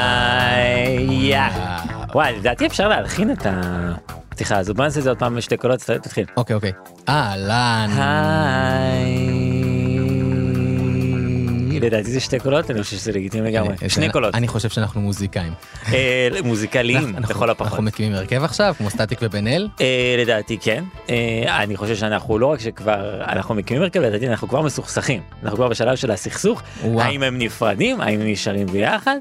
היי, יא. וואי, לדעתי אפשר להלחין את הפתיחה הזאת. בוא נעשה את זה עוד פעם בשתי קולות, ת- תתחיל. אוקיי, אוקיי. אהלן. היי. לדעתי זה שתי קולות, אני חושב שזה לגיטימי לגמרי. אה, שני אה, קולות. אני חושב שאנחנו מוזיקאים. אה, מוזיקליים, אנחנו- לכל הפחות. אנחנו מקימים הרכב עכשיו, כמו סטטיק ובן אל. אה, לדעתי כן. אה, אני חושב שאנחנו לא רק שכבר, אנחנו מקימים הרכב, לדעתי אנחנו כבר מסוכסכים. אנחנו כבר בשלב של הסכסוך. וואו. Mm. האם הם נפרדים? האם הם נשארים ביחד?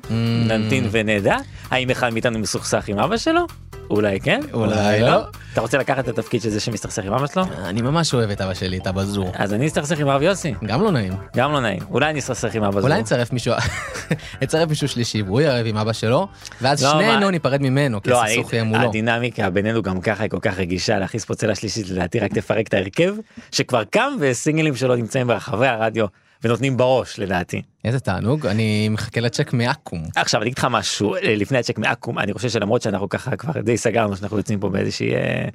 נמתין ונדע. האם אחד מאיתנו מסוכסך עם אבא שלו? אולי כן? אולי לא. אתה רוצה לקחת את התפקיד של זה שמסתכסך עם אבא שלו? אני ממש אוהב את אבא שלי, את אבא זור. אז אני אסתכסך עם הרב יוסי. גם לא נעים. גם לא נעים. אולי אני אסתכסך עם אבא שלו. אולי נצרף מישהו, נצרף מישהו שלישי, והוא יערב עם אבא שלו, ואז לא, שנינו מה- ניפרד ממנו, כי לא, הסכסוך יהיה אני- מולו. הדינמיקה בינינו גם ככה היא כל כך רגישה להכניס פה צלע שלישית לדעתי רק תפרק את ההרכב שכבר קם וסינגלים שלו נמצאים ברחבי הרדיו ונותנים בראש לדעתי. איזה תענוג, אני מחכה לצ'ק מעכו"ם. עכשיו אני אגיד לך משהו אה, לפני הצ'ק מעכו"ם אני חושב שלמרות שאנחנו ככה כבר די סגרנו שאנחנו יוצאים פה באיזושהי אה,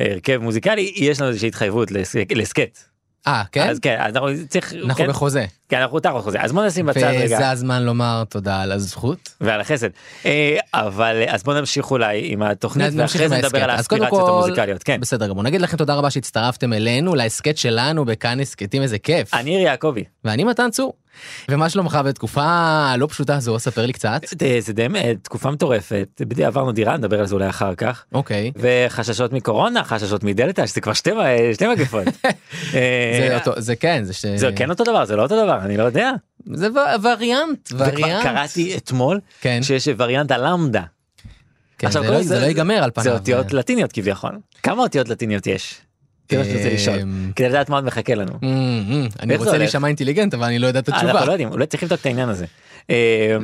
הרכב מוזיקלי יש לנו איזושהי התחייבות לס- להסכת. אה, כן? אז כן אז אנחנו צריך אנחנו כן? בחוזה. כן, אנחנו תחת חוזה אז בוא נשים בצד רגע. וזה הזמן לומר תודה על הזכות. ועל החסד. אה, אבל אה, אז בוא נמשיך אולי עם התוכנית נמשיך ואחרי זה עם נדבר על ההסכת. אז קודם האספירציות כל- המוזיקליות. כן. בסדר גמור. נגיד לכם תודה רבה שהצטרפתם אלינו, להסכת שלנו בכאן הסכתים, איזה כיף. אני יאיר יעקבי. ואני מתן צור. ומה שלומך בתקופה לא פשוטה זו, ספר לי קצת. אה, זה די אה, תקופה מטורפת בדי- עברנו דירה נדבר על זה אולי אחר כך אוקיי. וחששות מקורונה חששות מדלתא שזה כבר שתי מ- שתי מגפות. אה, זה אותו, זה כן, זה ש... זה כן אותו דבר זה לא אותו דבר אני לא יודע. זה ו- וריאנט, וכבר וריאנט. קראתי אתמול כן, שיש וריאנט הלמדה. כן, זה עכשיו, לא- כל זה זה- לא ייגמר על פניו. אה. זה אותיות לטיניות כביכול. כמה אותיות לטיניות יש? זה מה שאני רוצה לשאול. אמ, כדי לדעת מה עוד מחכה לנו. אמ, אמ, אני איך זה רוצה הולך? להישמע אינטליגנט, אבל אני לא יודע את התשובה. אנחנו לא יודעים אולי צריך לבדוק את העניין הזה. אה,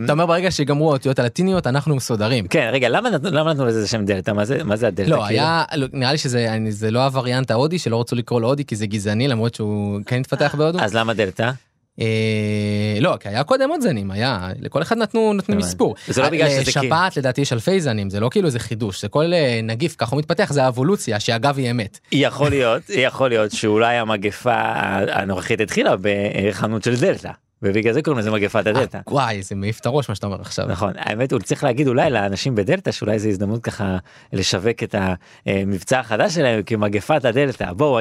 אתה אומר ברגע שיגמרו האותיות הלטיניות, אנחנו מסודרים. כן רגע למה נתנו למה נתנו לזה שם דלתא מה זה מה זה הדלתא לא, כאילו? היה, לא, נראה לי שזה אני- זה לא הווריאנט ההודי, שלא רצו לקרוא לו הודי, כי זה גזעני, למרות שהוא כן התפתח בהודו. אז למה דלתא אה, לא, כי היה קודם עוד זנים, היה, לכל אחד נתנו נתנו הבנתי. מספור. זה לא בגלל שזה כאילו- לשפעת לדעתי יש אלפי זנים, זה לא כאילו איזה חידוש, זה כל אה, נגיף, ככה הוא מתפתח, זה האבולוציה, שאגב היא אמת. יכול להיות יכול להיות שאולי המגפה הנוכחית התחילה בחנות של דלתא ובגלל זה קוראים לזה מגפת הדלתא. אה, וואי, זה מעיף את הראש מה שאתה אומר עכשיו. נכון האמת הוא צריך להגיד אולי לאנשים בדלתא שאולי זו הזדמנות ככה לשווק את המבצע החדש שלהם כמגפת הדלתא בואו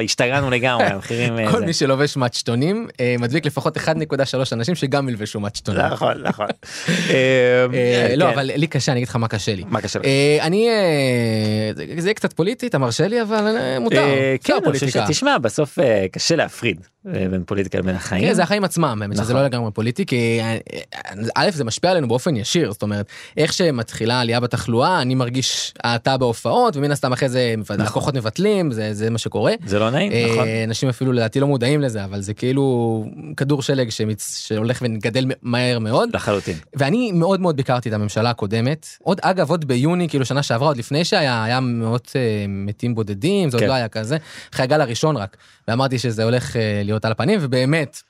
השתגענו לגמרי המחירים. אה, כל זה. מי שלובש מצ'טונים אה, מדביק לפחות 1.3 אנשים שגם ילבשו מצ'טונים. נכון נכון. אה, אה, לא, כן. אבל לי קשה, אני אגיד לך מה קשה לי. מה קשה לך? אה, אני, אה, זה- זה יהיה קצת פוליטי, אתה מרשה לי, אבל אה, מותר. אה, אפשר כן, אני חושב פוליטיקה. שתשמע, בסוף אה, קשה להפריד אה, בין פוליטיקה לבין החיים. כן, זה החיים עצמם, האמת שזה נכון. לא לגמרי פוליטי, כי אה, א', זה משפיע עלינו באופן ישיר, זאת אומרת, איך שמתחילה עלייה בתחלואה, אני מרגיש האטה בהופעות, ומן הסתם אחרי זה מבט- לקוחות מבטלים, זה- זה מה שקורה. נכון. זה לא נעים, אה, נכון? אנשים אפילו לדעתי לא מודעים לזה, אבל זה כאילו כדור שלג שמצ- שהולך וגדל מ- מהר מאוד. לחלוטין. ואני מאוד מאוד ביקרתי את הממשלה הקודמת. עוד אגב, עוד ביוני, כאילו שנה שעברה, עוד לפני שהיה, היה מאות אה, מתים בודדים, זה כן. עוד לא היה כזה, אחרי הגל הראשון רק. ואמרתי שזה הולך אה, להיות על הפנים, ובאמת,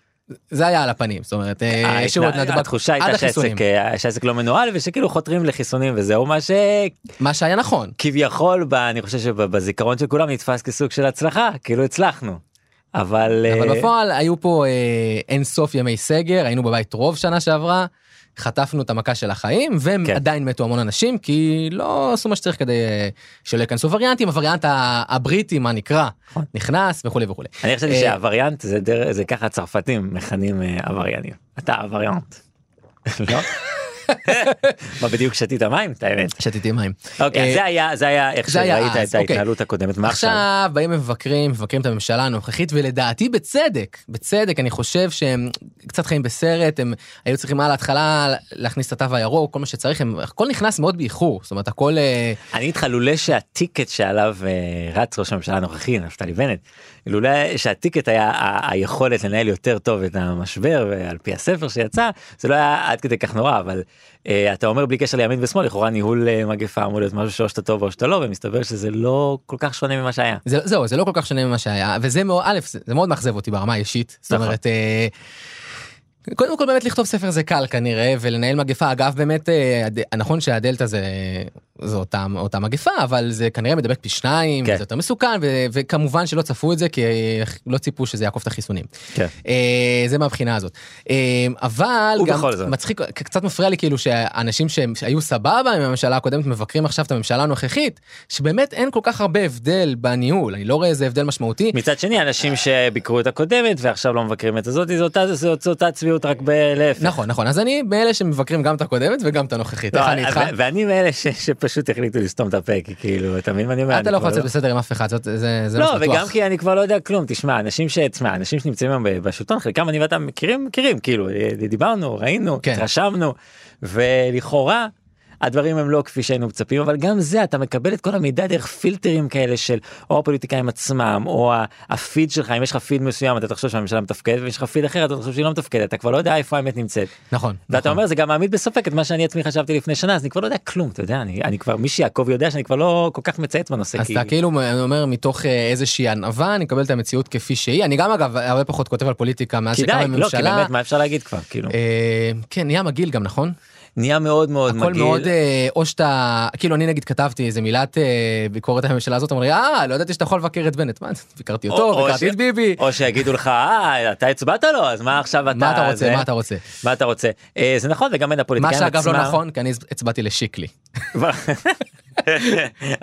זה היה על הפנים, זאת אומרת, אה, שוב עוד נתב"ג, התחושה עד הייתה החיסונים. שהעסק, אה, שהעסק לא מנוהל ושכאילו חותרים לחיסונים וזהו מה מה שהיה נכון. שכביכול ב- אני חושב שבזיכרון של כולם נתפס כסוג של הצלחה כאילו הצלחנו. אבל אה, אבל בפועל היו פה אה, אין סוף ימי סגר, היינו בבית רוב שנה שעברה, חטפנו את המכה של החיים, כן. ועדיין מתו המון אנשים, כי לא עשו מה שצריך כדי אה, שלא ייכנסו וריאנטים, הווריאנט ה- הבריטי, מה נקרא, נכון. נכנס וכולי וכולי. אני חשבתי אה, שהווריאנט זה דר- זה ככה הצרפתים מכנים אה, עבריינים. אתה עבריאנט. לא? מה בדיוק שתית מים את האמת. שתיתי מים. אוקיי אז אה, זה היה זה היה איך זה היה שראית אז, את אוקיי. ההתנהלות הקודמת מה עכשיו. עכשיו באים ומבקרים, מבקרים את הממשלה הנוכחית, ולדעתי בצדק, בצדק, אני חושב שהם קצת חיים בסרט, הם היו צריכים על ההתחלה להכניס את התו הירוק, כל מה שצריך, הם, הכל נכנס מאוד באיחור, זאת אומרת, הכל... אה, אני איתך לולא שהטיקט שעליו אה, רץ ראש הממשלה הנוכחי נפתלי בנט לולא שהטיקט היה ה- היכולת לנהל יותר טוב את המשבר ועל פי הספר שיצא זה לא היה עד כדי כך נורא אבל אה, אתה אומר בלי קשר לימין ושמאל, לכאורה ניהול אה, מגפה אמור להיות משהו שאו שאתה טוב או שאתה לא, ומסתבר שזה לא כל כך שונה ממה שהיה. זה, זהו, זה לא כל כך שונה ממה שהיה, וזה מאוד, א', זה, זה מאוד מאכזב אותי ברמה האישית, זאת נכון. אומרת, אה, קודם כל באמת לכתוב ספר זה קל כנראה, ולנהל מגפה, אגב באמת, אה, הד- נכון שהדלתא זה, זה אותה, אותה מגפה, אבל זה כנראה מדבק פי שניים, כן. זה יותר מסוכן, ו, וכמובן שלא צפו את זה, כי אה, לא ציפו שזה יעקוף את החיסונים. כן. אה, זה מהבחינה הזאת. אה, אבל גם ובכל זאת. מצחיק, קצת מפריע לי כאילו שאנשים שהם- שהיו סבבה עם הממשלה הקודמת מבקרים עכשיו את הממשלה הנוכחית, שבאמת אין כל כך הרבה הבדל בניהול, אני לא רואה איזה הבדל משמעותי. מצד שני, אנשים שביקרו את הקודמת ועכשיו לא מבקרים את הזאתי, זו אותה- זו זו אותה צביעות רק בלהפך. נכון, נכון, אז אני מאלה שמבקרים גם את הקודמת וגם את הנוכחית, לא, איך אני איתך? ו- ואני מאלה ש- שפשוט החליטו לסתום את הפה, כי כאילו, אתה מבין מה אני אומר? אתה אני לא כבר יכול לצאת בסדר עם אף אחד, זאת- זה זה מה לא, וגם שבטוח. כי אני כבר לא יודע כלום, תשמע, אנשים ש... תשמע, אנשים שנמצאים היום בשלטון, חלקם אני ואתה מכירים, מכירים, כאילו, אה, דיברנו, ראינו, כן. התרשמנו, ולכאורה, הדברים הם לא כפי שהיינו מצפים, אבל גם זה, אתה מקבל את כל המידע דרך פילטרים כאלה של או הפוליטיקאים עצמם, או ה- הפיד שלך, אם יש לך פיד מסוים, אתה תחשוב שהממשלה מתפקדת, ויש לך פיד אחר, אתה תחשוב שהיא לא מתפקדת, אתה כבר לא יודע איפה האמת נמצאת. נכון. ואתה נכון. אומר זה גם מעמיד בספק את מה שאני עצמי חשבתי לפני שנה אז אני כבר לא יודע כלום אתה יודע אני, אני כבר מי שיעקב יודע שאני כבר לא כל כך מצייץ בנושא אז כי אתה כאילו אומר מתוך אה, איזושהי ענווה אני מקבל את המציאות כפי שהיא אני גם אגב הרבה פחות כותב על פוליטיקה מאז כי שקמה די לא כי הממשלה. באמת מה אפשר להגיד כבר כאילו אה, כן נהיה מגעיל גם נכון? נהיה מאוד מאוד הכל מגעיל מאוד אה, או שאתה כאילו אני נגיד כתבתי איזה מילת אה, ביקורת על הממשלה הזאת אמרו לי אה לא ידעתי שאתה יכול לבקר את בנט מה ביקרתי או- אותו או ביקרתי ש- את ביבי או שיגידו לך אה אתה הצבעת לו אז מה עכשיו אתה מה אתה רוצה זה- מה אתה רוצה. מה אתה רוצה אה, זה נכון וגם בין מה הפוליטיקאים שאגב לא עצמם- נכון כי אני הצבעתי לשיקלי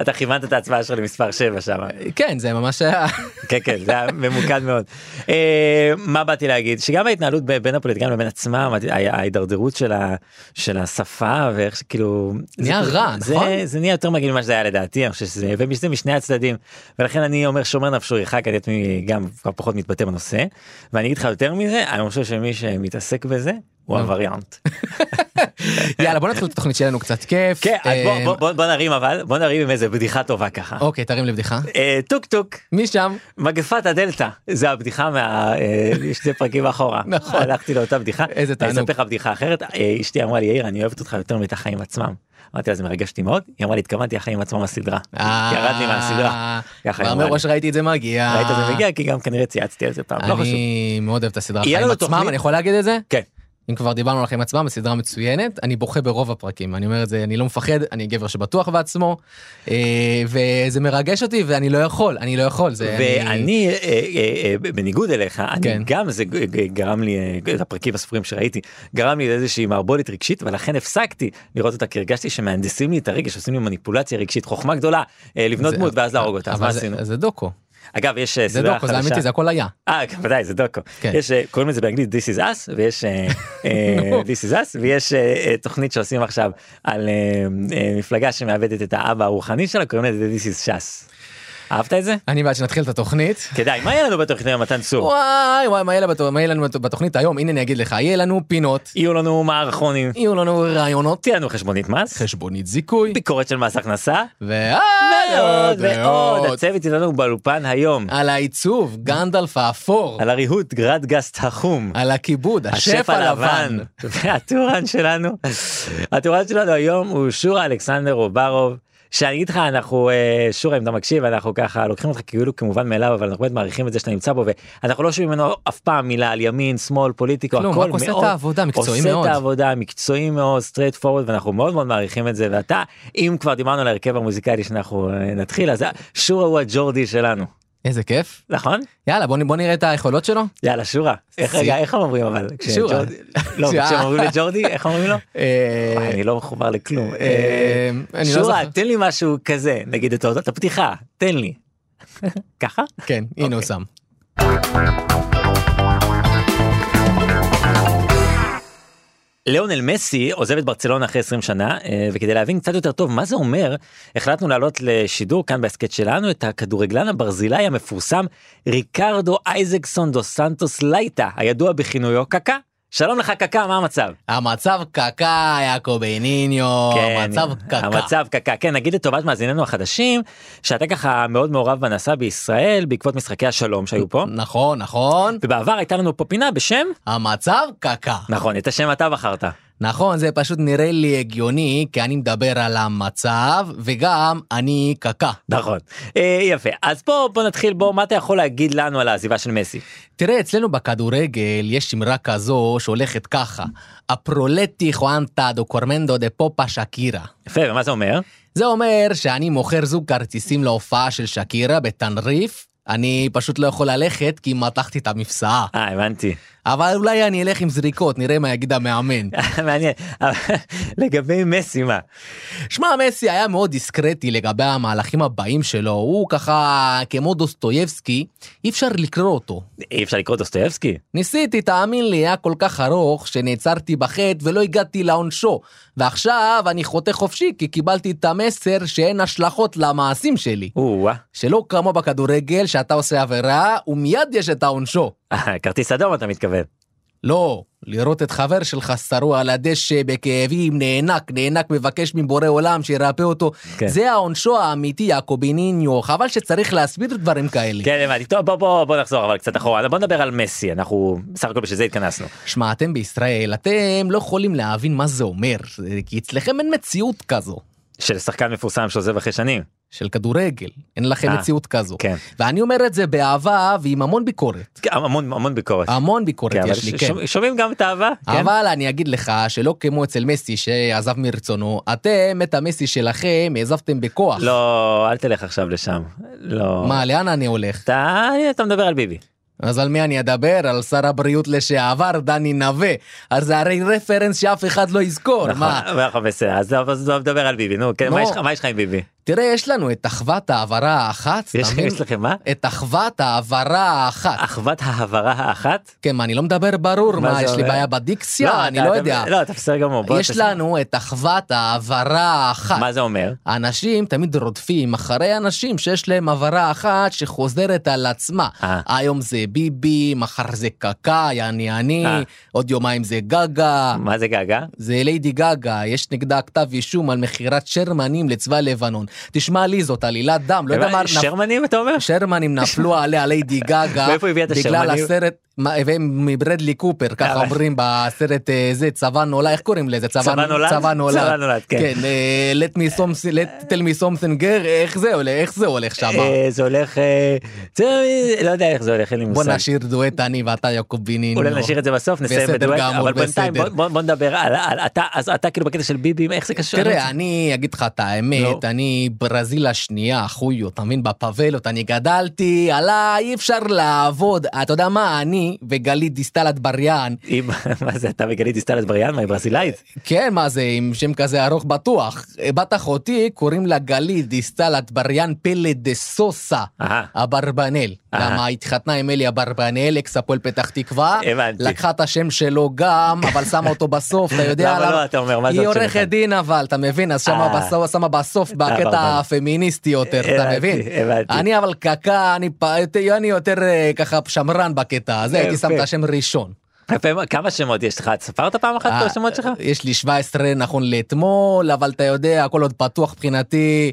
אתה כיוונת את ההצבעה שלך למספר 7 שם. כן זה ממש היה כן כן זה היה ממוקד מאוד. אה, מה באתי להגיד שגם ההתנהלות ב- בין הפוליטיקאים לבין עצמם ה- ההידרדרות של, ה, של השפה ואיך שכאילו נהיה זה- כאילו, רע, זה, נכון? זה נהיה יותר מגעיל ממה שזה היה לדעתי אני חושב שזה וזה משני הצדדים ולכן אני אומר שומר נפשו ירחק אני עצמי גם כבר פחות מתבטא בנושא ואני אגיד לך יותר מזה אני חושב שמי שמתעסק בזה הוא נו. הווריאנט. יאללה בוא נתחיל את התוכנית שלנו קצת כיף. כן אז בוא- אה, בוא- בוא- בוא נרים אבל בוא נרים עם איזה בדיחה טובה ככה. אוקיי תרים לי בדיחה. אה, טוק טוק. מי שם? מגפת הדלתא זה הבדיחה מה... אה, שני פרקים אחורה. נכון. הלכתי לאותה בדיחה. איזה תענוג. אני אספר לך בדיחה אחרת. אה, אשתי אמרה לי יאיר אני אוהבת אותך יותר מאת החיים עצמם. אמרתי לה זה מרגש אותי מאוד. היא אמרה לי התכוונתי החיים עצמם הסדרה. ירד לי מהסדרה. אה, ככה כבר היא אמרה לי. מראש ראיתי את זה מגיע. ראית זה מגיע כי גם כנראה צייצתי על זה פעם. לא חשוב. אני מאוד אוהב את הסדרה יהיה חיים לנו עצמם, תוכנית- אני יכול להגיד את זה? כן. אם כבר דיברנו על החיים עצמם, הסדרה מצוינת, אני בוכה ברוב הפרקים, אני אומר את זה, אני לא מפחד, אני גבר שבטוח בעצמו, אה, וזה מרגש אותי ואני לא יכול, אני לא יכול, זה... אני- ואני אה, אה, אה, בניגוד אליך כן. אני גם זה ג- ג- גרם לי אה, את הפרקים הספורים שראיתי גרם לי לאיזושהי מערבולת רגשית ולכן הפסקתי לראות אותה כי הרגשתי שמהנדסים לי את הרגש עושים לי מניפולציה רגשית חוכמה גדולה אה, לבנות זה- דמות ואז להרוג אותה אז אבל מה זה- עשינו. זה דוקו, אגב יש אה, זה סדרה דוקו, זה חדשה. אמיתי, זה הכל היה. אה בוודאי זה דוקו. כן. יש אה, קוראים לזה באנגלית This is us ויש אה, אה, נו. This is us ויש אה, אה, תוכנית שעושים עכשיו על אה, אה, מפלגה שמאבדת את האבא הרוחני שלה קוראים לזה This is ש"ס. אהבת את זה? אני בעד שנתחיל את התוכנית. כדאי מה יהיה לנו בתוכנית היום מתן צור? וואי וואי, מה יהיה לנו בת- מה יהיה לנו בת- בתוכנית היום? הנה אני אגיד לך, יהיה לנו פינות, יהיו לנו מערכונים, יהיו לנו רעיונות, תהיה לנו חשבונית מס, חשבונית זיכוי, ביקורת של מס הכנסה, ועוד ועוד ועוד. הצוות שלנו באולפן היום, על העיצוב, גנדלף האפור, על הריהוט גרדגסט החום. על הכיבוד, השף הלבן. והטורן שלנו, הטורן שלנו היום הוא שורה אלכסנדר אוברוב. שאני אגיד לך אנחנו אה, שורה אם אתה מקשיב אנחנו ככה לוקחים אותך כאילו כמובן מאליו אבל אנחנו באמת מעריכים את זה שאתה נמצא בו ואנחנו לא שומעים ממנו אף פעם מילה על ימין שמאל פוליטיקה כלום, רק עושה את העבודה, מקצועי מאוד. עושה את העבודה מקצועי מאוד סטרייט פורוד ואנחנו מאוד מאוד מעריכים את זה ואתה אם כבר דיברנו על ההרכב המוזיקלי שאנחנו אה, נתחיל אז שורה הוא הג'ורדי שלנו איזה כיף. נכון יאללה בוא נ- בוא נראה את היכולות שלו. יאללה שורה איך רגע איך הם אומרים אבל שורה. כשג'ורדי- לא, כשהם אומרים לג'ורדי איך אומרים לו וואי, אני לא מחובר לכלום אה, אני לא שורה זוכר. תן לי משהו כזה נגיד את האות- את הפתיחה תן לי ככה כן הנה הוא שם. ליאונל מסי עוזב את ברצלונה אחרי 20 שנה אה, וכדי להבין קצת יותר טוב מה זה אומר החלטנו לעלות לשידור כאן בהסכת שלנו את הכדורגלן הברזילאי המפורסם ריקרדו אייזקסון דו סנטוס לייטה הידוע בכינויו קקה שלום לך קקה מה המצב. המצב קקה יעקובניניו כן, המצב קקה. כן, המצב קקה, כן, נגיד לטובת מאזיננו החדשים, שאתה ככה מאוד מעורב בנסע בישראל בעקבות משחקי השלום שהיו פה, נכון נכון ובעבר הייתה לנו פה פינה בשם, המצב קקה. נכון, את השם אתה בחרת. נכון, זה פשוט נראה לי הגיוני, כי אני מדבר על המצב, וגם אני קקה. נכון. אה, יפה. אז פה בוא נתחיל בוא מה אתה יכול להגיד לנו על העזיבה של מסי. תראה, אצלנו בכדורגל יש אמרה כזו שהולכת ככה, הפרולטי חואנטה דו קורמנדו דה פופה שקירה. יפה ומה זה אומר? זה אומר שאני מוכר זוג כרטיסים להופעה של שקירה בתנריף, אני פשוט לא יכול ללכת כי מתחתי את המפסעה. אה הבנתי. אבל אולי אני אלך עם זריקות, נראה מה יגיד המאמן. מעניין. אבל לגבי מסי מה? שמע, מסי היה מאוד דיסקרטי לגבי המהלכים הבאים שלו, הוא ככה כמו דוסטויבסקי, אי אפשר לקרוא אותו. אי אפשר לקרוא דוסטויבסקי? ניסיתי, תאמין לי, היה כל כך ארוך שנעצרתי בחטא ולא הגעתי לעונשו. ועכשיו אני חוטא חופשי כי קיבלתי את המסר שאין השלכות למעשים שלי. או-אה. שלא כמו בכדורגל שאתה עושה עבירה ומיד יש את העונשו. אה, כרטיס אדום אתה מתכוון. לא, לראות את חבר שלך שרוע על הדשא בכאבים, נאנק, נאנק, מבקש מבורא עולם שירפא אותו. כן. זה העונשו האמיתי, יעקוביניניו, חבל שצריך להסביר דברים כאלה. כן הבנתי. טוב בוא בוא בוא נחזור אבל קצת אחורה בוא נדבר על מסי אנחנו בסך הכל בשביל זה התכנסנו. שמע, אתם בישראל, אתם לא יכולים להבין מה זה אומר, כי אצלכם אין מציאות כזו. של שחקן מפורסם שעוזב אחרי שנים. של כדורגל, אין לכם אה, מציאות כזו. כן. ואני אומר את זה באהבה ועם המון ביקורת. כן, המון המון ביקורת. המון ביקורת כן, אבל אה, יש לי, ש- כן. שומע- שומעים גם את האהבה? כן. אבל אני אגיד לך שלא כמו אצל מסי שעזב מרצונו, אתם את המסי שלכם העזבתם בכוח. לא אל תלך עכשיו לשם. לא. מה, נכון, לאן אני הולך? אתה אה, אתה מדבר על ביבי. אז על מי אני אדבר? על שר הבריאות לשעבר, דני נווה. אז זה הרי רפרנס שאף אחד לא יזכור. נכון, מה, נכון, בסדר, אז לא- אז לא מדבר על ביבי, נו, כן, נו. מה יש לך- מה יש לך עם ביבי? תראה, יש לנו את אחוות ההעברה האחת, אתה יש מבין? יש לכם מה? את אחוות ההעברה האחת. אחוות ההעברה האחת? כן, מה, אני לא מדבר ברור? מה מה, זה יש לי אומר? בעיה בדיקציה? אני אתה- לא אתה- יודע. לא, אתה בסדר גמור. בוא, יש תעשה- לנו את אחוות ההעברה האחת. מה זה אומר? אנשים תמיד רודפים אחרי אנשים שיש להם הבהרה אחת שחוזרת על עצמה. אה. היום זה ביבי, מחר זה קקה, יעני אני, אה. עוד יומיים זה גגה. מה זה געגע? זה ליידי גגה, יש נגדה כתב אישום על מכירת שרמנים לצבא לבנון. תשמע לי, זאת עלילת דם, לא יודע מה... נפ- שרמנים אתה אומר? שרמנים נפלו עליה ליידי גגה, מאיפה הביאה את בגלל השרמנים? אה. הסרט, מה, והם מברדלי קופר, ככה אבל- אומרים בסרט אה, זה, צבא נולד, איך קוראים לזה? צבא נולד? צבא נולד, צבא נולד, כן. כן, אה, let me something, let tell me something girl, איך זה הולך, איך זה הולך שם? אה, זה הולך... אה, זה- לא יודע איך זה הולך, אין לי בוא מושג. נשיר דואט אני ואתה יעקב בינינו. אולי נשאיר את זה בסוף, נסיים לא. בסדר בדואט, גמור, אבל בינתיים בסדר. בוא- בוא בוא נדבר על... על- אתה- אז אתה כאילו בקטע של ביבי, איך זה קשור? תראה, אני אגיד לך את לא. האמת, אני ברזיל השנייה, חויו, אתה מבין? בפאבלות, אני גדלתי, עליי אי אפשר לעבוד. אתה יודע מה, אני וגלית דיסטל אטבריאן, אם- מה זה, אתה וגלית דיסטל אטבריאן, מה, היא ברזילאית? כן, מה זה, עם שם כזה ארוך בטוח. בת אחותי, קוראים לה גלית דיסטל אטבריאן פלא דה סוסה. אהה. אברבנאל, אהה. למה התחתנה עם אלי אברבנאל, אקס הפועל פתח תקווה, הבנתי. לקחה את השם שלו גם, אבל שמה אותו בסוף, אתה יודע למה לא, אתה אומר, מה זה היא עוד שם עורכת אחד? דין אבל, אתה מבין? אז אה. שמה בסוף- שמה בסוף בקטע אברבנאל. הפמיניסטי יותר, אתה הבנתי, מבין? הבנתי. אני אבל קקה, אני פ- אני יותר אה, ככה שמרן בקטע הזה, הייתי שם יפה. את השם ראשון. יפה, מה- כמה שמות יש לך? את ספרת פעם אחת את אה, השמות שלך? יש לי 17 נכון לאתמול, אבל אתה יודע, הכל עוד פתוח מבחינתי,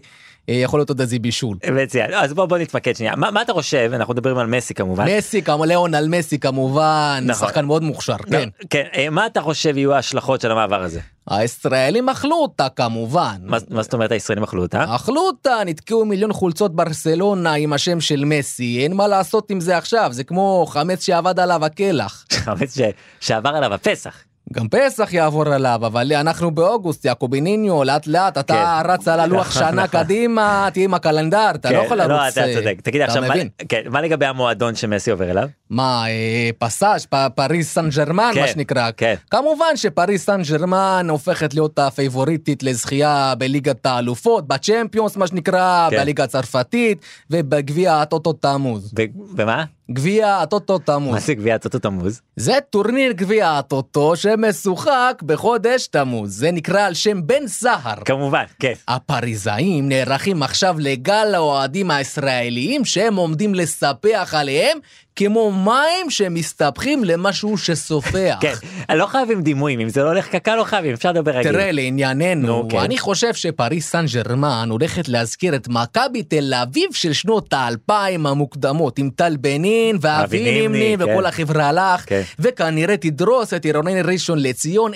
אה, יכול להיות עוד איזה בישול. מצוין, אז בוא בוא נתמקד שנייה. מה מה אתה חושב, אנחנו מדברים על מסי כמובן. מסי, כמובן, ליאון על מסי כמובן, נכון. שחקן מאוד מוכשר, לא, כן. כן. אה, מה אתה חושב יהיו ההשלכות של המעבר הזה? הישראלים אכלו אותה כמובן. מה מה זאת אומרת הישראלים אכלו אותה? אכלו אותה, נתקעו מיליון חולצות ברסלונה עם השם של מסי, אין מה לעשות עם זה עכשיו, זה כמו חמץ שאבד עליו הקלח. חמץ ש- שעבר עליו הפסח. גם פסח יעבור עליו, אבל אנחנו באוגוסט, יעקוביניניו, לאט לאט, אתה כן. רץ על הלוח נכון, שנה נכון. קדימה, תהיה עם הקלנדר, אתה לא כן, יכול לא, לרוץ... אתה אה, צודק. תגיד אתה עכשיו, מה- מבין? כן, מה לגבי המועדון שמסי עובר אליו? מה, אה, פסאז', פ- פריס סן ג'רמן, כן, מה שנקרא. כן. כמובן שפריס סן ג'רמן הופכת להיות הפייבוריטית לזכייה בליגת האלופות, בצ'מפיונס, מה שנקרא, כן. בליגה הצרפתית, ובגביע הטוטו תמוז. ו- ומה? גביע הטוטו מה תמוז. זה גביע טוטו תמוז? זה טורניר גביע הטוטו שמשוחק בחודש תמוז. זה נקרא על שם בן סהר. כמובן, כן. הפריזאים נערכים עכשיו לגל האוהדים הישראליים שהם עומדים לספח עליהם כמו מים שמסתפחים למשהו שסופח. כן, לא חייבים דימויים, אם זה לא הולך קקה לא חייבים, אפשר לדבר רגיל. תראה, לענייננו, נו, כן. אני חושב שפריס סן ג'רמן הולכת להזכיר את מכבי תל אביב של שנות האלפיים המוקדמות עם טל בני נמנין, ואבי ואבי נמנין, נמני, כן. וכל החברה הלך, כן. וכנראה תדרוס את עירוני ראשון לציון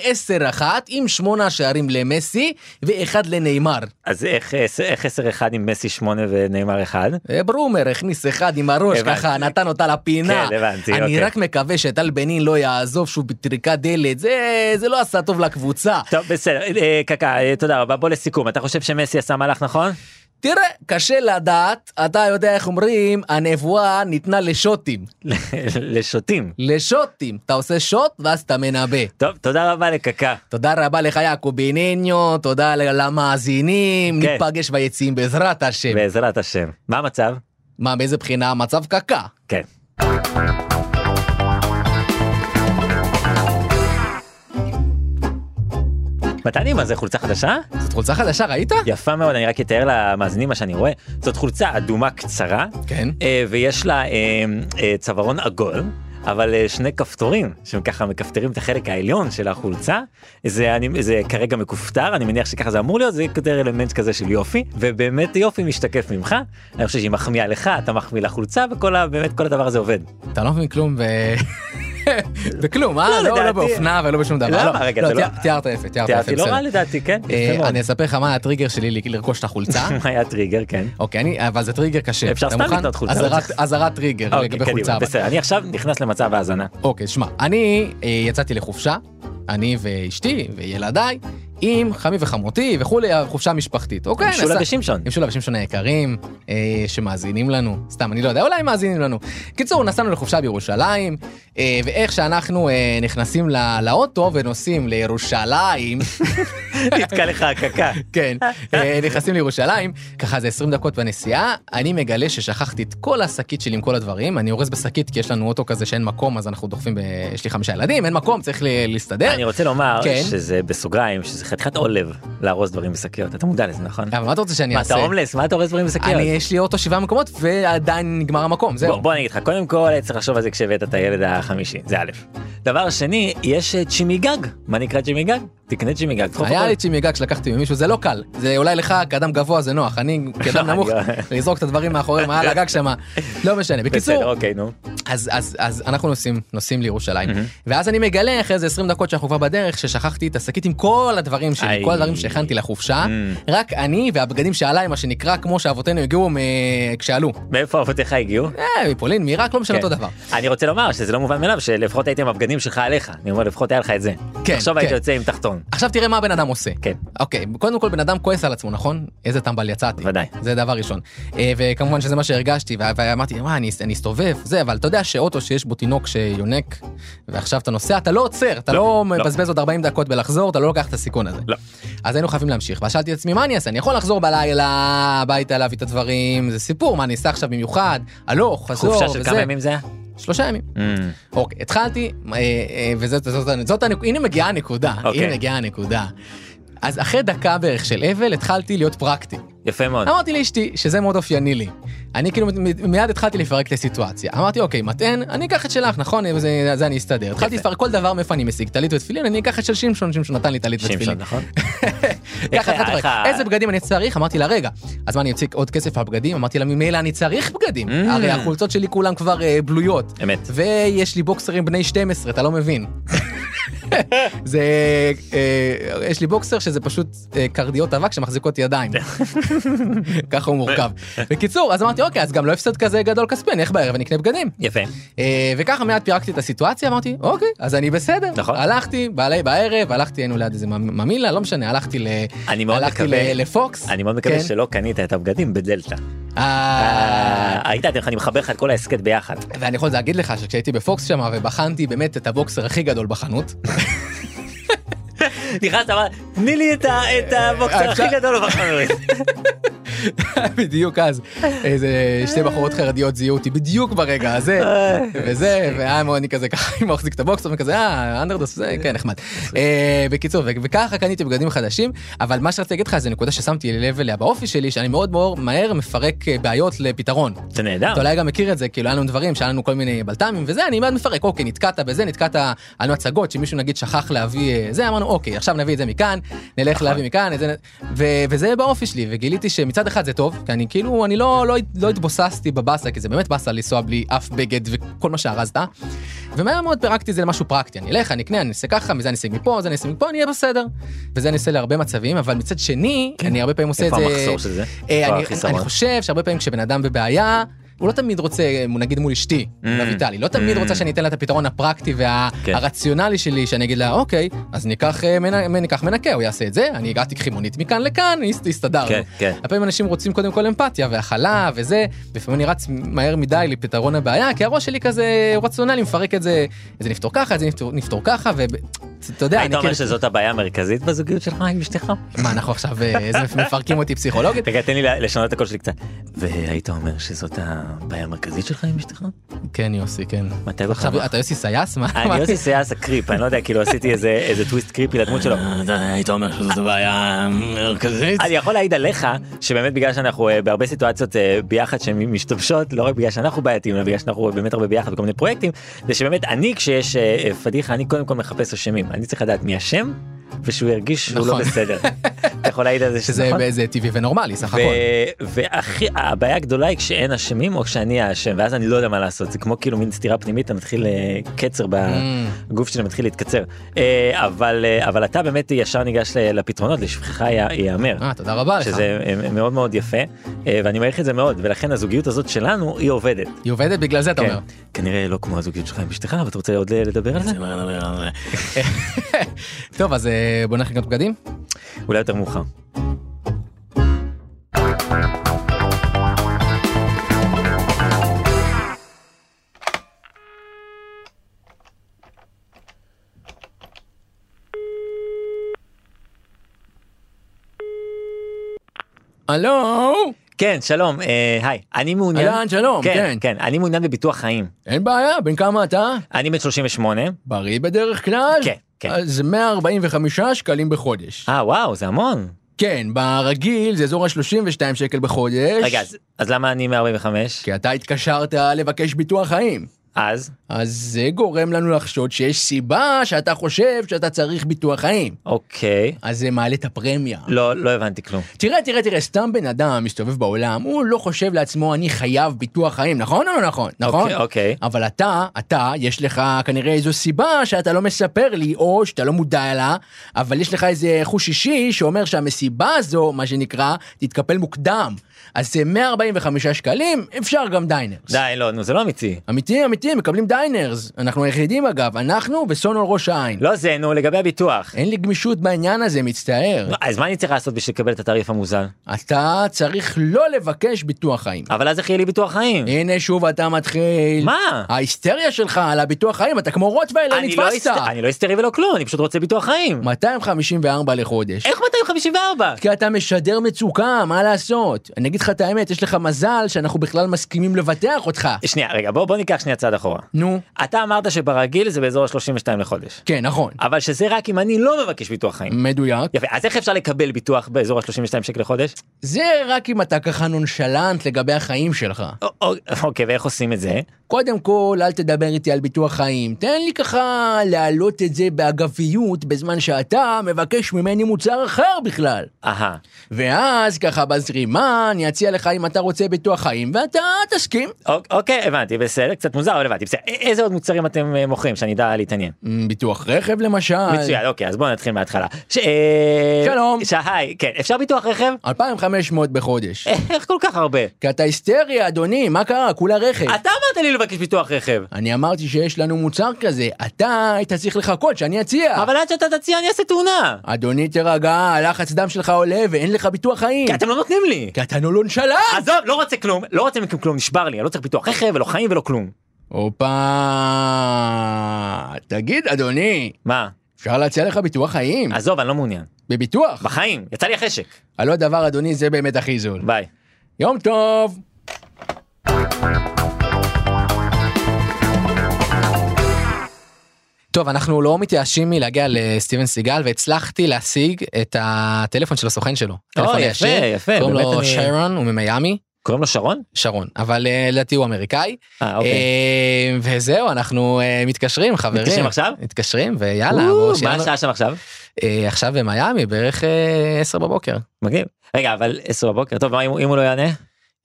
10-1 עם שמונה שערים למסי ואחד לנאמר. אז איך אה, איך 10-1 עם מסי 8 ונאמר 1? אה, ברומר הכניס אחד עם הראש הבנתי. ככה, נתן אותה לפינה. כן, הבנתי, אני אוקיי. רק מקווה שטל בנין לא יעזוב שהוא בטריקת דלת, זה- זה לא עשה טוב לקבוצה. טוב בסדר אה, קקה אה, תודה רבה בוא לסיכום אתה חושב שמסי עשה מהלך נכון? תראה, קשה לדעת, אתה יודע איך אומרים, הנבואה ניתנה לשוטים. לשוטים. לשוטים. אתה עושה שוט ואז אתה מנבא. טוב תודה רבה לקקה. תודה רבה לך יעקוביניניו, תודה ל- למאזינים, כן. ניפגש ביציעים בעזרת השם. בעזרת השם. מה המצב? מה, מאיזה בחינה המצב קקה? כן. מתני, מה זה חולצה חדשה? זאת חולצה חדשה, ראית? יפה מאוד, אני רק אתאר למאזינים מה שאני רואה. זאת חולצה אדומה קצרה, כן. אה, ויש לה אה, אה, צווארון עגול, אבל אה, שני כפתורים, שהם ככה מכפתרים את החלק העליון של החולצה. זה, אני, זה כרגע מכופתר, אני מניח שככה זה אמור להיות, זה יותר אלמנט כזה של יופי, ובאמת יופי משתקף ממך. אני חושב שהיא מחמיאה לך, אתה מחמיא לחולצה, וכל ה... באמת כל הדבר הזה עובד. אתה לא מבין כלום ב... בכלום, אה? לא, לא, לא לדעתי- באופנה ולא בשום דבר. למה? לא, רגע, לא, אתה לא- תיאר- תיארת יפה, תיארת יפה, תיארתי לא רע בסדר. לדעתי, כן? אה, יפה מאוד. אני אספר לך מה הטריגר שלי ל- לרכוש את החולצה. היה טריגר, כן. אוקיי, אני, אבל זה טריגר קשה. אפשר אתה סתם מוכן? לקנות חולצה, לא אזהרת- צריך- אזהרת טריגר אוקיי, לגבי קדימה, חולצה. אבל- בסדר, אני עכשיו נכנס למצב האזנה. אוקיי, שמע, אני אה, יצאתי לחופשה, אני ואשתי וילדיי, עם חמי וחמותי וכולי, חופשה משפחתית. אוקיי, עם שולה נסע- ושמשון. עם שולה ושמשון היקרים, אה, שמאזינים לנו, סתם, אני לא יודע, אולי הם מאזינים לנו. קיצור, נסענו לחופשה בירושלים, אה, ואיך שאנחנו אה, נכנסים לא, לאוטו ונוסעים לירושלים, נתקע לך הקקה. כן, אה, נכנסים לירושלים, ככה זה 20 דקות בנסיעה, אני מגלה ששכחתי את כל השקית שלי עם כל הדברים, אני אורז בשקית כי יש לנו אוטו כזה שאין מקום, אז אנחנו דוחפים, ב... יש לי חמישה ילדים, אין מקום, צריך ל- להסתדר. אני רוצה לומר כן. שזה בסוגריים, שזה חתיכת עולב לארוז דברים בשקיות. אתה מודע לזה, נכון? אבל מה אתה רוצה שאני מה, אה, אעשה? אתה הומלס? מה אתה אורז דברים אני, בשקיות? יש לי אוטו שבעה מקומות ועדיין נגמר המקום, בוא זהו. בוא אני אגיד לך, קודם כל צריך לחשוב על זה כשהבאת את הילד החמישי, זה א'. דבר שני, יש אה, צ'ימי גג. מה נקרא צ'ימי גג? תקנה צ'ימי גג. דחוף היה אותו. לי צ'ימי גג שלקחתי ממישהו, זה לא קל, זה אולי לך כאדם גבוה זה נוח, אני כאדם לא, נמוך, אני- לזרוק את הדברים מאחורי, מעל הגג שמה, לא משנה. בקיצור, בסדר, אוקיי, נו. אז, אז, אז אנחנו נוסעים, נוסעים לירושלים, ואז אני מגלה אחרי איזה 20 דקות שאנחנו כבר בדרך, ששכחתי את השקית עם כל הדברים שלי, איי. כל הדברים שהכנתי לחופשה, רק אני והבגדים שעליי, מה שנקרא, כמו שאבותינו הגיעו מ... כשעלו. מאיפה אבותיך הגיעו? אה, מפולין, מעיראק, לא משנה כן. אותו דבר. אני רוצה לומר שזה לא מובן מאליו שלפחות הייתם הבגדים שלך עליך. אני אומר, לפחות היה לך את זה. כן, עכשיו היית כן. יוצא עם תחתון. עכשיו תראה מה הבן אדם עושה. כן. אוקיי, קודם כל בן אדם כועס על עצמו, נכון? איזה טמבל יצאתי. ודאי. זה דבר ראשון. אה, וכמובן שזה מה שהרגשתי, ו- ואמרתי, מה, אני אני אסתובב, זה, אבל אתה יודע שאוטו שיש בו תינוק שיונק, ועכשיו אתה נוסע, אתה לא עוצר, אתה לא, לא לא. מבזבז עוד 40 דקות בלחזור, אתה לא לוקח את הסיכון הזה. לא. אז היינו חייבים להמשיך, ואז שאלתי את עצמי, מה אני אעשה? אני יכול לחזור בלילה הביתה להביא את הדברים, זה סיפור, מה אני אעשה עכשיו במיוחד? הלוך, חזור, חופשה של כמה וזה. ימים זה היה? שלושה ימים. אמ, אוקיי, התחלתי, אה, אה, וזאת זאת, זאת, זאת הנקודה, הנה מגיעה הנקודה, אוקיי. הנה מגיעה הנקודה. אז אחרי דקה בערך של אבל, התחלתי להיות פרקטי. יפה מאוד. אמרתי לאשתי שזה מאוד אופייני לי. אני כאילו מ- מ- מיד התחלתי לפרק את הסיטואציה. אמרתי, אוקיי, מטען, אני אקח את שלך, נכון? זה, זה אני אסתדר. התחלתי לפרק כל דבר מאיפה אני משיג, טלית ותפילין, אני אקח את של שמשון, שמשון נתן לי טלית שמשון, ותפילין. נכון? אה, ככה איך- התחלתי איך לפרק. ה- איזה בגדים אני צריך? אמרתי לה, רגע. אז מה, אני אוציא עוד כסף על בגדים? אמרתי לה, ממילא אני צריך בגדים. Mm. הרי החולצות שלי כולם כבר אה, בלויות. אמת. ויש לי בוקסרים בני 12, אתה לא מבין. זה, אה, יש לי בוקסר שזה פשוט אה, קרדיות אבק שמחזיקות ידיים. ככה הוא מורכב. בקיצור, אז אמרתי, אוקיי, אז גם לא הפסד כזה גדול כספי, אני אלך בערב ונקנה בגדים. יפה. אה, וככה מיד פירקתי את הסיטואציה, אמרתי, אוקיי, אז אני בסדר. נכון. הלכתי, בעלי בערב, הלכתי, היינו ליד איזה ממ- ממילה, לא משנה, הלכתי ל... אני מאוד הלכתי מקווה- ל- לפוקס. אני מאוד מקווה כן. שלא קנית את הבגדים בדלתא. אה, אה, ראית, אני מחבר לך את כל ההסכת ביחד. ואני יכול להגיד לך שכשהייתי בפוקס שם ובחנתי באמת את הבוקסר הכי גדול בחנות, נכנסת, אמר, תני לי את ה- את הבוקסר הכי אה, אפשר- גדול בחנות. בדיוק אז, איזה שתי בחורות חרדיות זיהו אותי בדיוק ברגע הזה, וזה, והיה מאוד, אני כזה ככה מחזיק את הבוקסר וכזה, אה, אנדרדוס, זה, כן, נחמד. אה, בקיצור, ו- וככה קניתי בגדים חדשים, אבל מה שרציתי להגיד לך זה נקודה ששמתי לב אליה באופי שלי, שאני מאוד מאוד מהר מפרק אה, בעיות לפתרון. זה נהדר. אתה אולי גם מכיר את זה, כאילו היה לנו דברים, שהיה לנו כל מיני בלת"מים וזה, אני מיד מפרק, אוקיי, נתקעת בזה, נתקעת, היה לנו הצגות שמישהו נגיד שכח להביא אה, נכון. זה, אמרנו, אוקיי, עכשיו נביא את זה מכאן, נלך להביא מכאן, את זה, נ- ו- וזה באופי שלי, וגיליתי שמצד אחד זה טוב, כי אני כאילו, אני לא, לא, הת- לא התבוססתי בבאסה, כי זה באמת באסה לנסוע בלי אף בגד וכל מה שארזת. ומהר מאוד פירקתי את זה למשהו פרקטי, אני אלך, אני אקנה, אני אעשה ככה, מזה אני אשיג מפה, זה אני אשיג מפה, אני אהיה בסדר. וזה אני עושה להרבה מצבים, אבל מצד שני, אני הרבה פעמים עושה את כן. איפה זה... המחסור של זה? אה, איפה אני, החיסרון? אני חושב שהרבה פעמים כשבן אדם בבעיה, הוא לא תמיד רוצה, אה, נגיד מול אשתי, מול אביטל, היא לא תמיד Mm. רוצה שאני אתן לה את הפתרון הפרקטי כן. והרציונלי שלי, שאני אגיד לה, אוקיי, אז ניקח, אה, מנ- מ- ניקח מנקה, הוא יעשה את זה, אני הגעתי קחי מונית מכאן לכאן, הס- הסתדרנו. כן, כן. לפעמים אנשים רוצים קודם כל אמפתיה והכלה וזה, לפעמים אני רץ מהר מדי לפתרון הבעיה, כי הראש שלי כזה רציונלי, מפרק את זה, את זה נפתור ככה, את זה נפתור, נפתור ככה, ואתה יודע, היית אני אומר כאילו, שזאת הבעיה המרכזית בזוגיות שלך עם אשתך? מה, אנחנו עכשיו, אה, איזה מפרקים אותי פסיכולוגית? רגע, תן לי ל- לשנות את הקול שלי קצת. והיית אומר שזאת הבעיה המרכזית שלך עם אשתך? כן, יוסי, כן. מתי עכשיו, בחר? אתה יוסי סייס? מה? אה, אני מה- יוסי סייס הקריפ, אני לא יודע, כאילו עשיתי איזה איזה טוויסט קריפי לדמות שלו. היית אומר שזאת הבעיה מרכזית? אני יכול להעיד עליך שבאמת בגלל שאנחנו אה, בהרבה סיטואציות אה, ביחד שמשתבשות לא רק בגלל שאנחנו בעייתיים אלא בגלל שאנחנו באמת הרבה ביחד בכל מיני פרויקטים זה שבאמת אני כשיש אה, אה, פדיחה אני קודם כל מחפש אשמים אני צריך לדעת מי אשם ושהוא ירגיש שהוא לא נכון. בסדר. אתה יכול להעיד על זה שזה שזה נכון? זה נכון. טבעי ונורמלי, סך הכל. ו- והכי הבעיה הגדולה היא כשאין אשמים או כשאני האשם ואז אני לא יודע מה לעשות זה כמו כאילו מין סתירה פנימית אתה מתחיל אה, קצר Mm. בגוף שלי מתחיל להתקצר אה, אבל אה, אבל אתה באמת ישר ניגש ל- לפתרונות לשבחך י- ייאמר. אה, תודה רבה לך. שזה אה, מאוד מאוד יפה אה, ואני מעריך את זה מאוד ולכן הזוגיות הזאת שלנו היא עובדת. היא עובדת בגלל זה, אתה כן. אומר. כנראה לא כמו הזוגיות שלך עם אשתך אבל אתה רוצה עוד לדבר על זה? טוב, אז אה, בוא נלך לקנות בגדים? אולי יותר מאוחר. הלו? כן שלום אה, היי אני מעוניין אהלן, שלום, כן. כן אני מעוניין בביטוח חיים אין בעיה, בן כמה אתה? אני בן 38 בריא בדרך כלל? כן, כן. אז 145 שקלים בחודש. אה וואו זה המון כן, ברגיל זה אזור ה-32 שקל בחודש. רגע אז- אז למה אני 145 כי אתה התקשרת לבקש ביטוח חיים. אז אז זה גורם לנו לחשוד שיש סיבה שאתה חושב שאתה צריך ביטוח חיים. אוקיי אז זה מעלה את הפרמיה. לא לא הבנתי כלום תראה, תראה, תראה, סתם בן אדם מסתובב בעולם, הוא לא חושב לעצמו, אני חייב ביטוח חיים, נכון או לא נכון? נכון? אוקיי, אוקיי. אבל אתה, אתה, יש לך כנראה איזו סיבה שאתה לא מספר לי, או שאתה לא מודע לה, אבל יש לך איזה חוש אישי שאומר שהמסיבה הזו, מה שנקרא, תתקפל מוקדם. אז אה, זה 145 שקלים, אפשר גם דיינרס. די לא נו זה לא אמיתי אמיתי, אמיתי, מקבלים דיינרס. אנחנו היחידים אגב, אנחנו וסונול ראש העין. לא זה נו לגבי הביטוח אין לי גמישות בעניין הזה, מצטער. אז מה אני צריך לעשות בשביל לקבל את התעריף המוזל אתה צריך לא לבקש ביטוח חיים. אבל אז איך יהיה לי ביטוח חיים הנה שוב אתה מתחיל. מה? ההיסטריה שלך על הביטוח חיים, אתה כמו רוטווייל, לא אני לא נתפסת. היסט- אני לא היסטרי ולא כלום אני פשוט רוצה ביטוח חיים 254 לחודש. איך 254 כי אתה משדר מצוקה, מה לעשות? אני אגיד לך את האמת, יש לך מזל שאנחנו בכלל מסכימים לבטח אותך. שנייה רגע בוא בוא ניקח שנייה צעד אחורה נו, אתה אמרת שברגיל זה באזור ה-32 לחודש כן, נכון. אבל שזה רק אם אני לא מבקש ביטוח חיים מדויק. יפה אז איך אפשר לקבל ביטוח באזור ה-32 שקל לחודש זה רק אם אתה ככה נונשלנט לגבי החיים שלך. א- א- אוקיי ואיך עושים את זה קודם כל, אל תדבר איתי על ביטוח חיים. תן לי ככה להעלות את זה באגביות בזמן שאתה מבקש ממני מוצר אחר בכלל. אהה ואז ככה בזרימה אני אציע לך אם אתה רוצה ביטוח חיים ואתה תסכים. אוק- אוקיי הבנתי בסדר קצת מוזר אבל הבנתי בסדר א- איזה עוד מוצרים אתם אה, מוכרים שאני אדע להתעניין מ, ביטוח רכב למשל. מצוין אוקיי אז בואו נתחיל מההתחלה ש- אה, אה, שלום. שהי כן אפשר ביטוח רכב 2500 בחודש. איך כל כך הרבה כי אתה היסטרי אדוני, מה קרה? כולה רכב. אתה אמרת לי לבקש ביטוח רכב אני אמרתי שיש לנו מוצר כזה, אתה היית צריך לחכות שאני אציע. אבל עד שאתה תציע אני אעשה תאונה אדוני תירגע, לחץ דם שלך עולה ואין לך ביטוח חיים. כי אתם לא נותנים לי כי אתה נונשלנט. עזוב לא רוצה כלום לא רוצה מכם כלום נשבר לי אני לא צריך ביטוח רכב ולא חיים ולא כלום הופה, תגיד אדוני, מה אפשר להציע לך ביטוח חיים? עזוב אני לא מעוניין בביטוח? בחיים יצא לי החשק הלא דבר אדוני זה באמת הכי זול. ביי. יום טוב. טוב, אנחנו לא מתייאשים מלהגיע לסטיבן סיגל, והצלחתי להשיג את הטלפון של הסוכן שלו. טלפון יפה, הישיר. יפה, קוראים באמת לו אני- שיירון, הוא ממיאמי. קוראים לו שרון? שרון, אבל אה, לדעתי הוא אמריקאי. אה, אוקיי. אה, וזהו, אנחנו אה, מתקשרים, חברים. מתקשרים עכשיו? מתקשרים, ויאללה, או, בואו, מה שיהיה לנו- השעה שם עכשיו? אה, עכשיו במיאמי, בערך 10 בבוקר. מגניב. רגע, אבל 10 בבוקר, טוב, מה אם הוא- אם הוא לא יענה?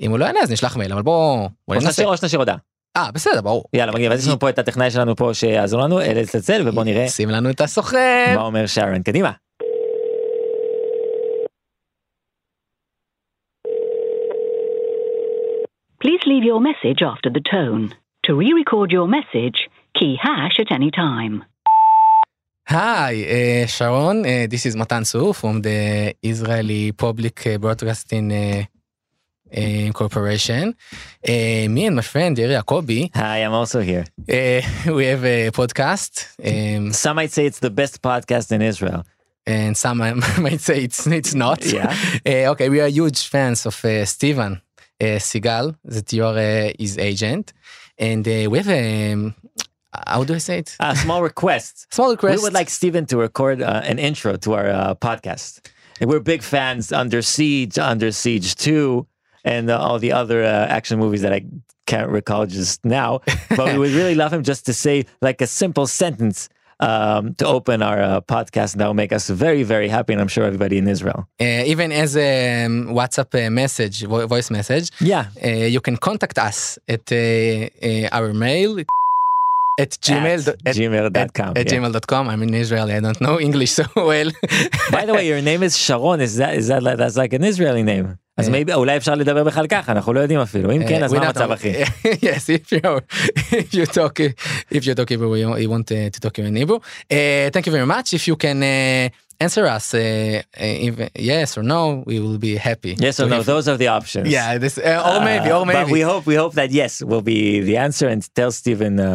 אם הוא לא יענה אז נשלח מייל, אבל בואו בואו או ננסה. שנשאיר או שנשאיר הודעה. אה, בסדר, ברור. יאללה, מגניב. אז יש לנו פה את הטכנאי שלנו פה שיעזור לנו אה, לצלצל, ובוא נראה שים לנו את הסוכן. מה אומר שרון. קדימה. Please leave your message after the tone. To re-record your message, key hash at any time. היי, אה, שרון, אה, this is מתן סוף, from the Israeli Public אה, Broadcasting אה, אה, Corporation. אה, me and my friend ירי יעקבי, Hi, I'm also here. אה, we have a podcast, um, Some might say it's the best podcast in Israel. and some might say it's, it's not. Yeah. Uh, okay, we are huge fans of uh, Steven uh, Seagal, that you are uh, his agent. And uh, we have a, um, how do I say it? A small request. Small request. Uh, We would like Steven to record uh, an intro to our uh, podcast. And we're big fans Under Siege, Under Siege 2, and uh, all the other uh, action movies that I can't recall just now. But we would really love him just to say like a simple sentence um, to open our uh, podcast. And that will make us very, very happy. And I'm sure everybody in Israel. uh, even as a um, WhatsApp uh, message, vo- voice message, Yeah. uh, you can contact us at uh, uh, our mail at gmail. At gmail.com. At yeah. gmail.com. I'm in Israel. I don't know English so well. By the way, your name is Sharon, is that, is that like, that's like an Israeli name. אז אה. maybe, אולי אפשר לדבר בכלל ככה, אנחנו לא יודעים אפילו. אם כן, Uh, אז מה without- המצב, אחי? yes, if you if you talk if you talk Hebrew, you, you want uh, to talk in Hebrew. Uh, thank you very much. If you can uh, answer us, uh, uh, if, yes or no, we will be happy. Yes to or no, hear from- those are the options. Yeah, this uh, or maybe or Uh, But maybe. we hope, we hope that yes will be the answer and tell Steven uh,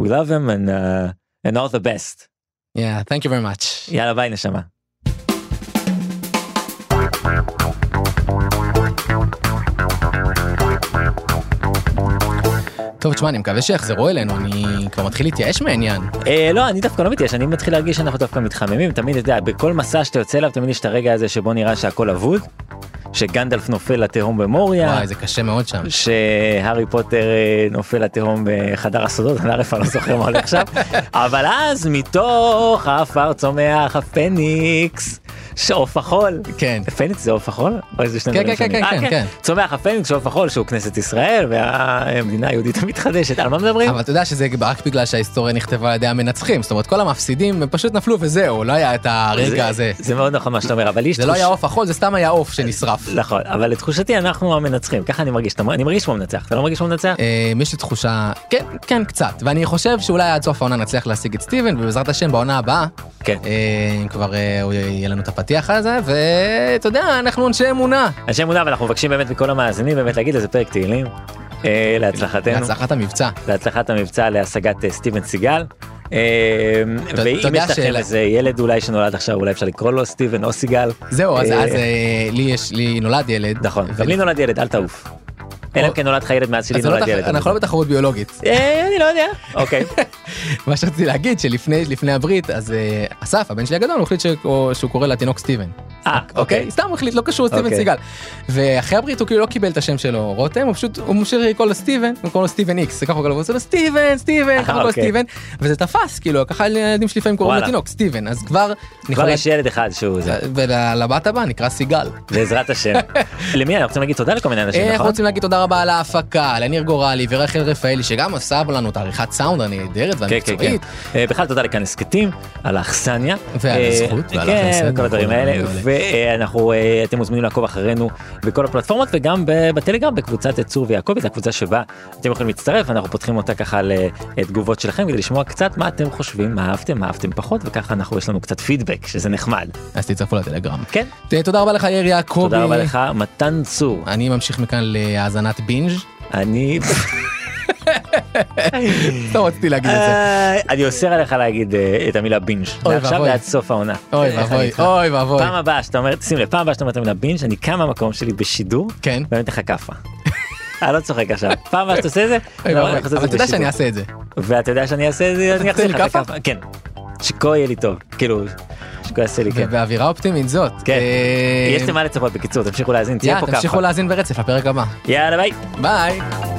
we love him and, uh, and all the best. Yeah, thank you very much. יאללה ביי נשמה. טוב, תשמע, אני מקווה שיחזרו אלינו, אני כבר מתחיל להתייאש מהעניין. אה, לא, אני דווקא לא מתייאש, אני מתחיל להרגיש שאנחנו דווקא מתחממים, תמיד, אתה יודע, בכל מסע שאתה יוצא אליו, תמיד יש את הרגע הזה שבו נראה שהכל אבוד, שגנדלף נופל לתהום במוריה. וואי, זה קשה מאוד שם. שהארי פוטר אה, נופל לתהום בחדר הסודות, אני ערף, אני לא זוכר מה הולך שם, אבל אז מתוך העפר צומח הפניקס, שעוף החול. כן. פניקס זה עוף החול? או איזה שני כן, דברים כן, שונים? כן, אה, כן, כן. צומח הפניקס, שעוף החול, שהוא כנסת ישראל והמדינה היהודית המתחדשת. על מה מדברים? אבל אתה יודע שזה רק בגלל שההיסטוריה נכתבה על ידי המנצחים, זאת אומרת כל המפסידים הם פשוט נפלו וזהו, לא היה את הרגע הזה. זה מאוד נכון מה שאתה אומר, אבל לי יש זה לא תחוש- היה עוף החול, זה סתם היה עוף שנשרף. נכון, אבל לתחושתי אנחנו המנצחים, ככה אני מרגיש, אתה- אני מרגיש כמו מנצח, אתה לא מרגיש כמו מנצח? אה, יש לי תחושה, כן, כן, קצת. ואני חושב שאולי עד סוף העונה נצליח להשיג את סטיבן, ובעזרת השם בעונה הבאה, כן. אה, אם כבר אה, הוא יהיה לנו את הפתיח הזה, ואתה יודע, אנחנו אנשי אמונה. אנשי אמונה, ואנחנו מבקשים באמת מכל המאזינים באמת להגיד איזה פרק תהילים. אה, להצלחתנו. להצלחת המבצע. להצלחת המבצע להשגת אה, סטיבן סיגל. אה, אתה ואם יודע יש לכם שאלה- איזה ילד אולי שנולד עכשיו אולי אפשר לקרוא לו סטיבן או סיגל. זהו, אז אה, אז, אה, לי יש, לי נולד ילד. נכון, ו- גם לי נולד ילד אל תעוף. אלא אם או- כן נולד לך ילד מאז שלי אז זה לא נולד תח- ילד. אנחנו לא בתחרות ביולוגית. אה, אני לא יודע. אוקיי. מה שרציתי להגיד שלפני לפני הברית אז אה, אסף הבן שלי הגדול הוא החליט שהוא שהוא קורא לתינוק סטיבן. אה, אוקיי. אוקיי? סתם הוא החליט לא קשור לסטיבן אוקיי. סיגל. ואחרי הברית הוא כאילו לא קיבל את השם שלו רותם הוא פשוט הוא ממשיך לקרוא לו סטיבן הוא קורא לו סטיבן איקס זה ככה הוא קורא לו הוא עושה לו סטיבן סטיבן ככה הוא קורא לו אוקיי. סטיבן וזה תפס כאילו ככה הילדים שלי לפעמים קוראים וואלה. לתינוק סטיבן אז כבר אני כבר יכול יש ילד אחד שהוא זה. ולבת הבאה נקרא סיגל. בעזרת השם. למי אנחנו רוצים להגיד תודה לכל מיני אנשים, אה, אנחנו נכון? רוצים להגיד תודה רבה על ההפקה לניר גורלי ורחל רפאלי שגם עשה לנו את העריכת סאונד הנהדרת כן, כן, כן. והמקצועית. אה, בכלל תודה לכאן הסכתים, על האכסניה. ועל אה, הזכות ועל כן, החסד, כל הדברים נכון, האלה. מעולה. ואנחנו, אה, אתם מוזמנים לעקוב אחרינו בכל הפלטפורמות וגם ב- בטלגרם בקבוצת צור ויעקבי, זו הקבוצה שבה אתם יכולים להצטרף, אנחנו פותחים אותה ככה לתגובות שלכם כדי לשמוע קצת מה אתם חושבים, מה אהבתם, מה אהבתם פחות, וככה אנחנו, יש לנו קצת פידבק, שזה נחמד. אז תצטרפו לטלגרם. כן. ת- תודה רבה לך ירי יעקבי. תודה רבה לך, מתן צור. אני ממשיך מכאן להאזנת בינג'. אני... לא רציתי להגיד את זה. אה, אני אוסר עליך להגיד אה, את המילה בינג', אוי מעכשיו ואבוי. ועד סוף העונה. אוי איך אה, אני ואבוי, איתך? אוי ואבוי. פעם הבאה שאתה אומר, שים לב, פעם הבאה שאתה אומר את המילה בינג', אני קם מהמקום שלי בשידור, כן. ואני אתן לך כאפה. אני לא צוחק עכשיו, פעם הבאה שאתה עושה את זה, אוי לא, אני אומר ואבוי. לך, תעשה את אבל זה אתה יודע שאני אעשה את זה. בשידור. ואתה יודע שאני אעשה את זה, אני תיתן אחזיר לך לי את הכאפה, כן, שכה יהיה לי טוב, כאילו, שכה יעשה לי, כן. ובאווירה אופטימית זאת. כן. אה, יש למה לצפות בקיצור, תמשיכו להאזין, תהיה יאללה, פה ככה. תמשיכו להאזין ברצף לפרק הבא. יאללה ביי. ביי.